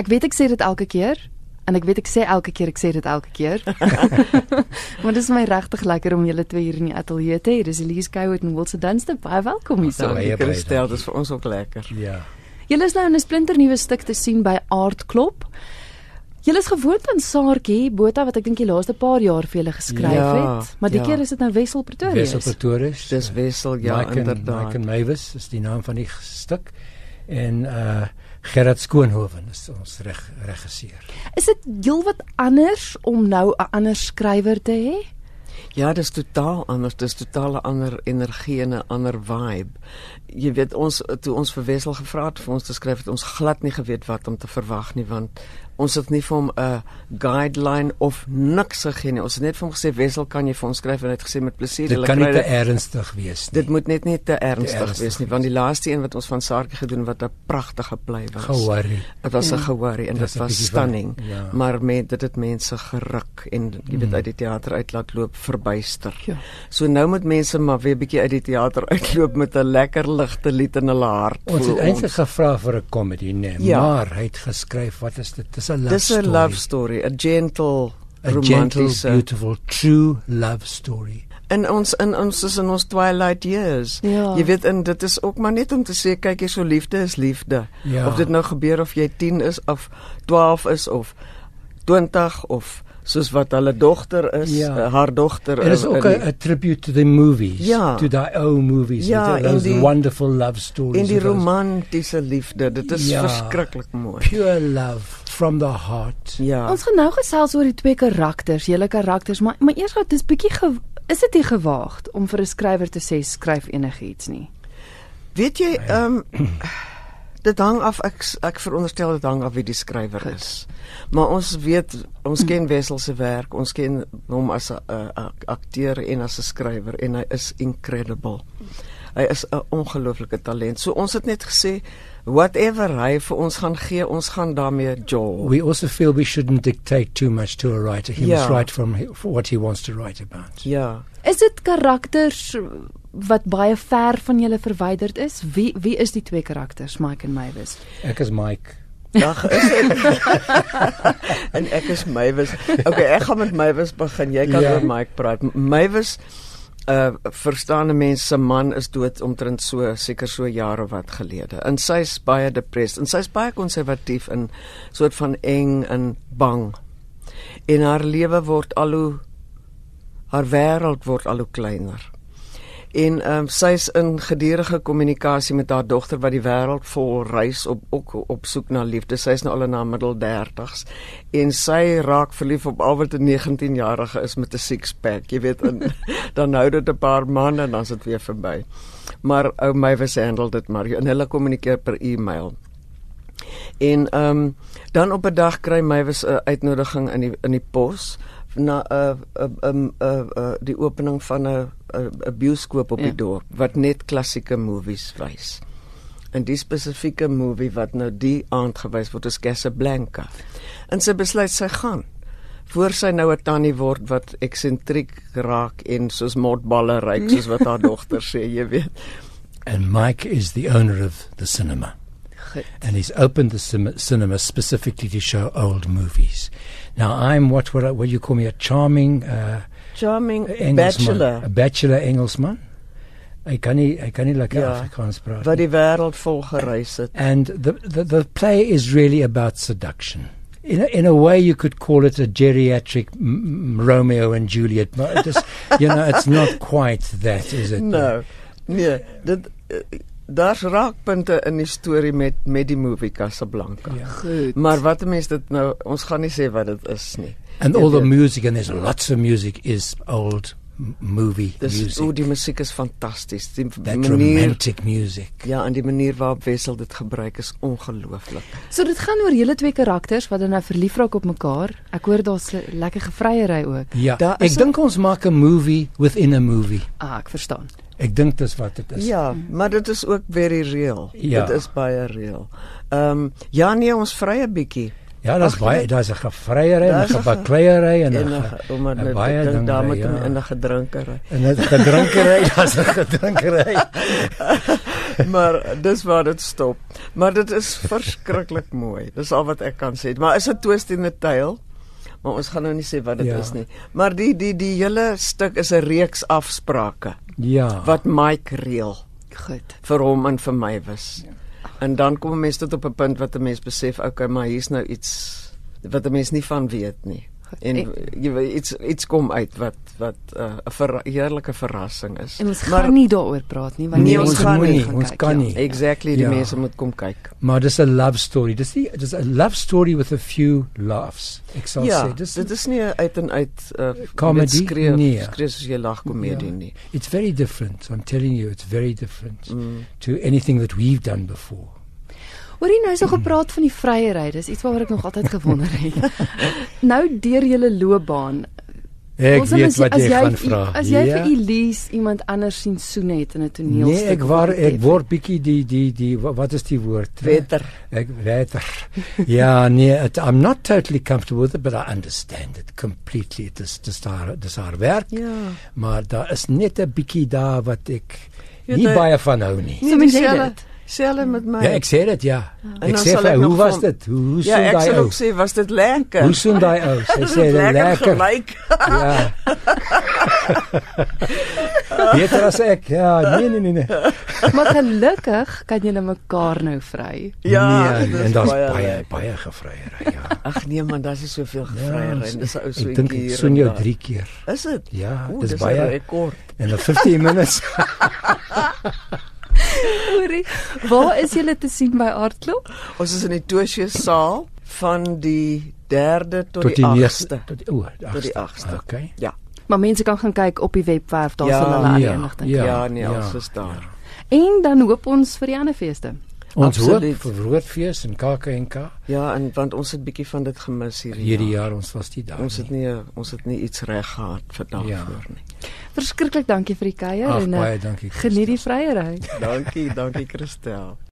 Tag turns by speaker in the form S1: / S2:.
S1: Ek weet ek sê dit elke keer en ek weet ek sê elke keer ek sê dit elke keer. maar dit is my regtig lekker om julle twee hier in die ateljee te hê. Dis Elise Gouet en Wilse Dunste. Baie welkom hierso.
S2: Baie
S1: Oh,
S2: baie
S3: Christel, dit is vir ons ook lekker.
S2: Ja.
S1: julle is nou in 'n splinternuwe stuk te sien by Aardklop. Julle is gewoond aan Saartjie Botha wat ek dink die laaste paar jaar vir julle geskryf
S3: Ja,
S1: het, maar die
S3: ja.
S1: keer is dit nou Wessel Pretoria.
S2: Wessel Pretorius.
S3: Dis Wessel, ja,
S2: Mike en-
S3: inderdaad.
S2: Mike en Mavis is die naam van die stuk en uh Gerard Skoonhoven is ons reg regisseur.
S1: Is dit heelwat anders om nou 'n ander skrywer te hê?
S3: Ja, dis totaal anders. Dis totaal 'n ander energie en 'n ander vibe. Jy weet ons toe ons vir Wessel gevra het vir ons te skryf het ons glad nie geweet wat om te verwag nie want ons het nie vir hom 'n guideline of niks gegee nie. Ons het net vir hom gesê Wessel kan jy vir ons skryf en hy het gesê met plesier.
S2: Dit
S3: hulle
S2: kan nie
S3: kry
S2: te
S3: dit."
S2: ernstig wees nie.
S3: Dit moet net nie te ernstig,
S2: ernstig
S3: wees nie want die laaste een wat ons van Saartjie gedoen het, wat 'n pragtige plei was.
S2: Gowari.
S3: Dit was 'n gewaarie en
S2: Ja. Dit is
S3: dit
S2: een
S3: was
S2: bietjie van-
S3: stunning,
S2: ja. Mm.
S3: maar met dit het mense geruk en jy weet uit die teater uit laat loop verbuister.
S1: Ja.
S3: So nou moet mense maar weer bietjie uit die teater uitloop met 'n lekker ligte lied in hulle hart.
S2: Ons
S3: voel
S2: het eintlik gevra vir 'n komedie, nee,
S3: Ja.
S2: maar hy het geskryf wat is dit? Dis 'n love
S3: Dis 'n
S2: story.
S3: love story, 'n gentle
S2: A gentle,
S3: romantiese.
S2: beautiful, true love story.
S3: In ons in ons is in ons twilight years.
S1: Ja.
S3: Jy weet en dit is ook maar net om te sê kyk hier so liefde is liefde.
S2: Ja.
S3: Of dit nou gebeur of jy 10 is of 12 is of 20 of soos wat hulle dogter is,
S2: Ja.
S3: eh, haar dogter
S2: En is
S3: eh,
S2: ook
S3: in-
S2: 'n tribute to the movies,
S3: Ja.
S2: to daai ou movies,
S3: Ja,
S2: ja,
S3: en
S2: those
S3: die-
S2: wonderful love stories.
S3: en die
S2: en those
S3: romantiese liefde. Dit is
S2: Ja.
S3: verskriklik mooi.
S2: Pure love from the heart.
S3: Ja.
S1: Ons gaan nou gesels oor die twee karakters, julle karakters, maar maar eers gou, dis bietjie ge- is dit nie gewaagd om vir 'n skrywer te sê skryf enigiets nie.
S3: Weet jy, ehm dit hang af ek s- ek veronderstel dit hang af wie die skrywer is. Maar ons weet, ons ken Wessel se werk, ons ken hom as 'n eh, ak- akteur en as 'n skrywer en hy is incredible. Hy is 'n ongelooflike talent. So ons het net gesê whatever hy vir ons gaan gee, ons gaan daarmee jol.
S2: We also feel we shouldn't dictate too much to a writer. He must
S3: Yeah.
S2: write from he- for what he wants to write about.
S3: Ja.
S1: Is dit karakters wat baie ver van julle verwyderd is? Wie wie is die twee karakters, Mike en Mavis?
S2: Ek is Mike.
S3: Dag is dit. en ek is Mywes. Okay, ek gaan met Mywes begin. Jy kan
S2: Ja.
S3: ja. oor Mike praat. Mywes uh verstaande mense se man is dood omtrent so seker so jare wat gelede. En sy's baie depressed en sy's baie konservatief en soort van eng en bang. En haar lewe word al hoe haar wêreld word al hoe kleiner. En ehm sy's in gedurende kommunikasie met haar dogter wat die wêreld vol reis op ook op soek na liefde. Sy's nou al in haar middel 30s en sy raak verlief op al wat 'n 19-jarige is met 'n six-pack. Jy weet, en, dan hou dit 'n paar maande en dan's dit weer verby. Maar ou my was handel dit maar en hulle kommunikeer per e-mail. En ehm dan op 'n dag kry my was 'n uitnodiging in die in die pos na eh, 'n 'n 'n 'n- 'n eh, die opening van 'n 'n 'n bioskoop op
S1: Ja.
S3: ja. die dorp wat net klassieke movies wys. En die spesifieke movie wat nou die aand gewys word is Casablanca. En sy besluit sy gaan voor sy nou 'n tannie word wat eksentriek raak en soos motballe ryk soos wat haar dogter sê, jy weet.
S2: And Mike is the owner of the cinema.
S1: Goed.
S2: And he's opened the cin- cinema specifically to show old movies. Now, I'm what, what, what you call me a charming uh,
S3: Charming
S2: Engelsman.
S3: bachelor
S2: A bachelor Engelsman. Hy kan nie hy kan nie lekker
S3: Ja.
S2: Afrikaans praat.
S3: wat
S2: nie.
S3: die wêreld vol gereis het.
S2: And the, the the play is really about seduction. In a, in a way, you could call it a geriatric m- m- Romeo and Juliet, but it is, you know, it's not quite that, is it?
S3: Nou, nee, dit eh, daar's raakpunte in die storie met met die movie Casablanca.
S2: Yeah.
S1: Goed.
S3: Maar wat 'n mens dit nou, ons gaan nie sê wat dit is nie.
S2: And
S3: Jy
S2: all the
S3: weet,
S2: music, and there's lots of music, is old m- movie
S3: Dis o,
S2: music.
S3: die musiek is fantasties. Die
S2: That
S3: manier
S2: romantic music.
S3: ja, en die manier waarop Wessel dit gebruik is ongelooflik.
S1: So dit gaan oor julle twee karakters wat dan nou verlief raak op mekaar. Ek hoor daar's 'n lekker gevryery ook.
S2: Ja,
S3: Daar is
S2: ek dink ons maak 'n movie within a movie.
S1: Ah, ek verstaan.
S2: Ek dink dis wat dit is.
S3: Ja, maar dit is ook very real.
S2: Ja.
S3: Dit is baie real. Ehm um, ja nee, ons vrye bietjie.
S2: Ja, daar's
S3: Ag,
S2: baie
S3: ja.
S2: daar's 'n gevryery en
S3: Daar's
S2: 'n
S3: een ge-
S2: gebakleiery en 'n
S3: En
S2: ge-
S3: om maar
S2: en
S3: net
S2: baie
S3: dink daar
S2: dinge,
S3: met
S2: ja.
S3: hom in 'n gedrinkery.
S2: en 'n gedrinkery, daar's 'n gedrinkery.
S3: maar dis waar dit stop. Maar dit is verskriklik mooi. Dis al wat ek kan sê. Maar is 'n twist in 'n tail. Maar ons gaan nou nie sê wat dit
S2: Ja.
S3: ja. is nie. Maar die die die hele stuk is 'n reeks afsprake
S2: Ja.
S3: wat Mike reël
S1: Goed.
S3: vir hom en vir my was. En dan kom 'n mens tot op 'n punt wat 'n mens besef, okay, maar hier's nou iets wat 'n mens nie van weet nie. En
S1: En,
S3: jy weet iets iets kom uit wat wat 'n uh, 'n verra heerlike verrassing is.
S1: en ons
S3: Maar-
S1: gaan nie daaroor praat nie want
S3: Nee,
S1: jy
S3: ons
S1: gaan
S3: gaan
S1: moet
S3: nie,
S1: gaan
S2: ons
S1: kyk,
S2: kan
S1: ja.
S2: nie.
S3: Exactly, die
S2: Ja.
S3: mense moet kom kyk.
S2: Maar dis 'n love story. Dis die dis 'n love story with a few laughs. Ek sal
S3: ja,
S2: sê dis
S3: dit is nie 'n uit en uit uh,
S2: Comedy?
S3: met skree,
S2: Nee.
S3: skree soos jy lag komedie
S2: Ja.
S3: nie.
S2: it's very different. I'm telling you it's very different
S3: Mm.
S2: to anything that we've done before.
S1: Hoorie nou so gepraat van die vrye ry, dis iets waaroor ek nog altyd gewonder het. nou deur julle loopbaan,
S2: Ek
S1: wil
S2: weet
S1: sê,
S2: wat
S1: as
S2: jy gaan vra.
S1: As jy
S2: Ja.
S1: vir Elise iemand anders sien soen het in 'n toneelstuk.
S2: Nee, ek
S1: of
S2: waar ek
S1: whatever.
S2: word bietjie die die die wa- wat is die woord?
S3: Beter.
S2: Ek beter. ja, nee, it, I'm not totally comfortable with it, but I understand it completely. Dit is dis haar dis haar werk,
S3: Ja.
S2: maar daar is net 'n bietjie daar wat ek
S3: Ja,
S2: nie
S3: daar-
S2: baie van hou nie.
S1: So mens sê dit.
S3: Selle met my.
S2: Ja, ek sê dit ja.
S3: En
S2: Ek
S3: dan
S2: sê
S3: sal ek
S2: vir haar, hoe
S3: nog
S2: was
S3: van-
S2: dit? Hoe hoe
S3: ja,
S2: sou
S3: ek
S2: daai
S3: sal
S2: ou?
S3: ook sê was dit
S2: Hoe
S3: lekker?
S2: sou daai ou? Sy
S3: Is
S2: sê
S3: dit
S2: lekker.
S3: gelyk.
S2: Ja. Beter as ek. Ja, nee nee nee nee.
S1: Maar gelukkig kan julle mekaar nou vry.
S3: Ja,
S2: nee,
S3: dit
S2: en daar's
S3: baie
S2: baie
S3: lekker.
S2: baie gevryery. Ja.
S3: Ag nee man, daar's nie soveel gevreier en dis 'n ou
S2: Ek
S3: soetjie
S2: dink
S3: hier.
S2: ek
S3: en
S2: soen jou
S3: daar.
S2: 3 keer
S3: Is dit?
S2: Ja,
S3: Oeh,
S2: dis
S3: dis
S2: baie-
S3: 'n rekord.
S2: in 'n 15 minutes.
S1: Hoorie, waar is julle te sien by Aardklop?
S3: Ons is in die Tosche saal van die 3de tot,
S2: tot
S3: die
S2: die
S3: 8ste.
S2: 9ste. Tot die o,
S3: Tot die 8ste.
S2: Okay.
S1: Maar mense kan gaan kyk op die webwerf, daar
S3: Ja,
S1: sal hulle al die
S2: ja,
S1: inligting.
S3: Ja,
S2: ja.
S3: ja, nee,
S2: ja,
S3: ja, ons is daar.
S1: En dan hoop ons vir die ander feeste.
S2: Ons hoop
S3: Absoluut.
S2: vir Roodfees en KAK&K
S3: Ja. en want ons het bietjie van dit gemis hierdie,
S2: hierdie jaar ons was nie daar.
S3: Ja. Ons het nie eh, ons het nie iets reg gehad vir
S2: Ja.
S3: daarvoor nie.
S1: Verskriklik dankie vir die kuier
S2: Ag
S1: en eh,
S2: baie dankie.
S1: geniet die
S2: Christus.
S1: vrye ry.
S3: Dankie, dankie Christel.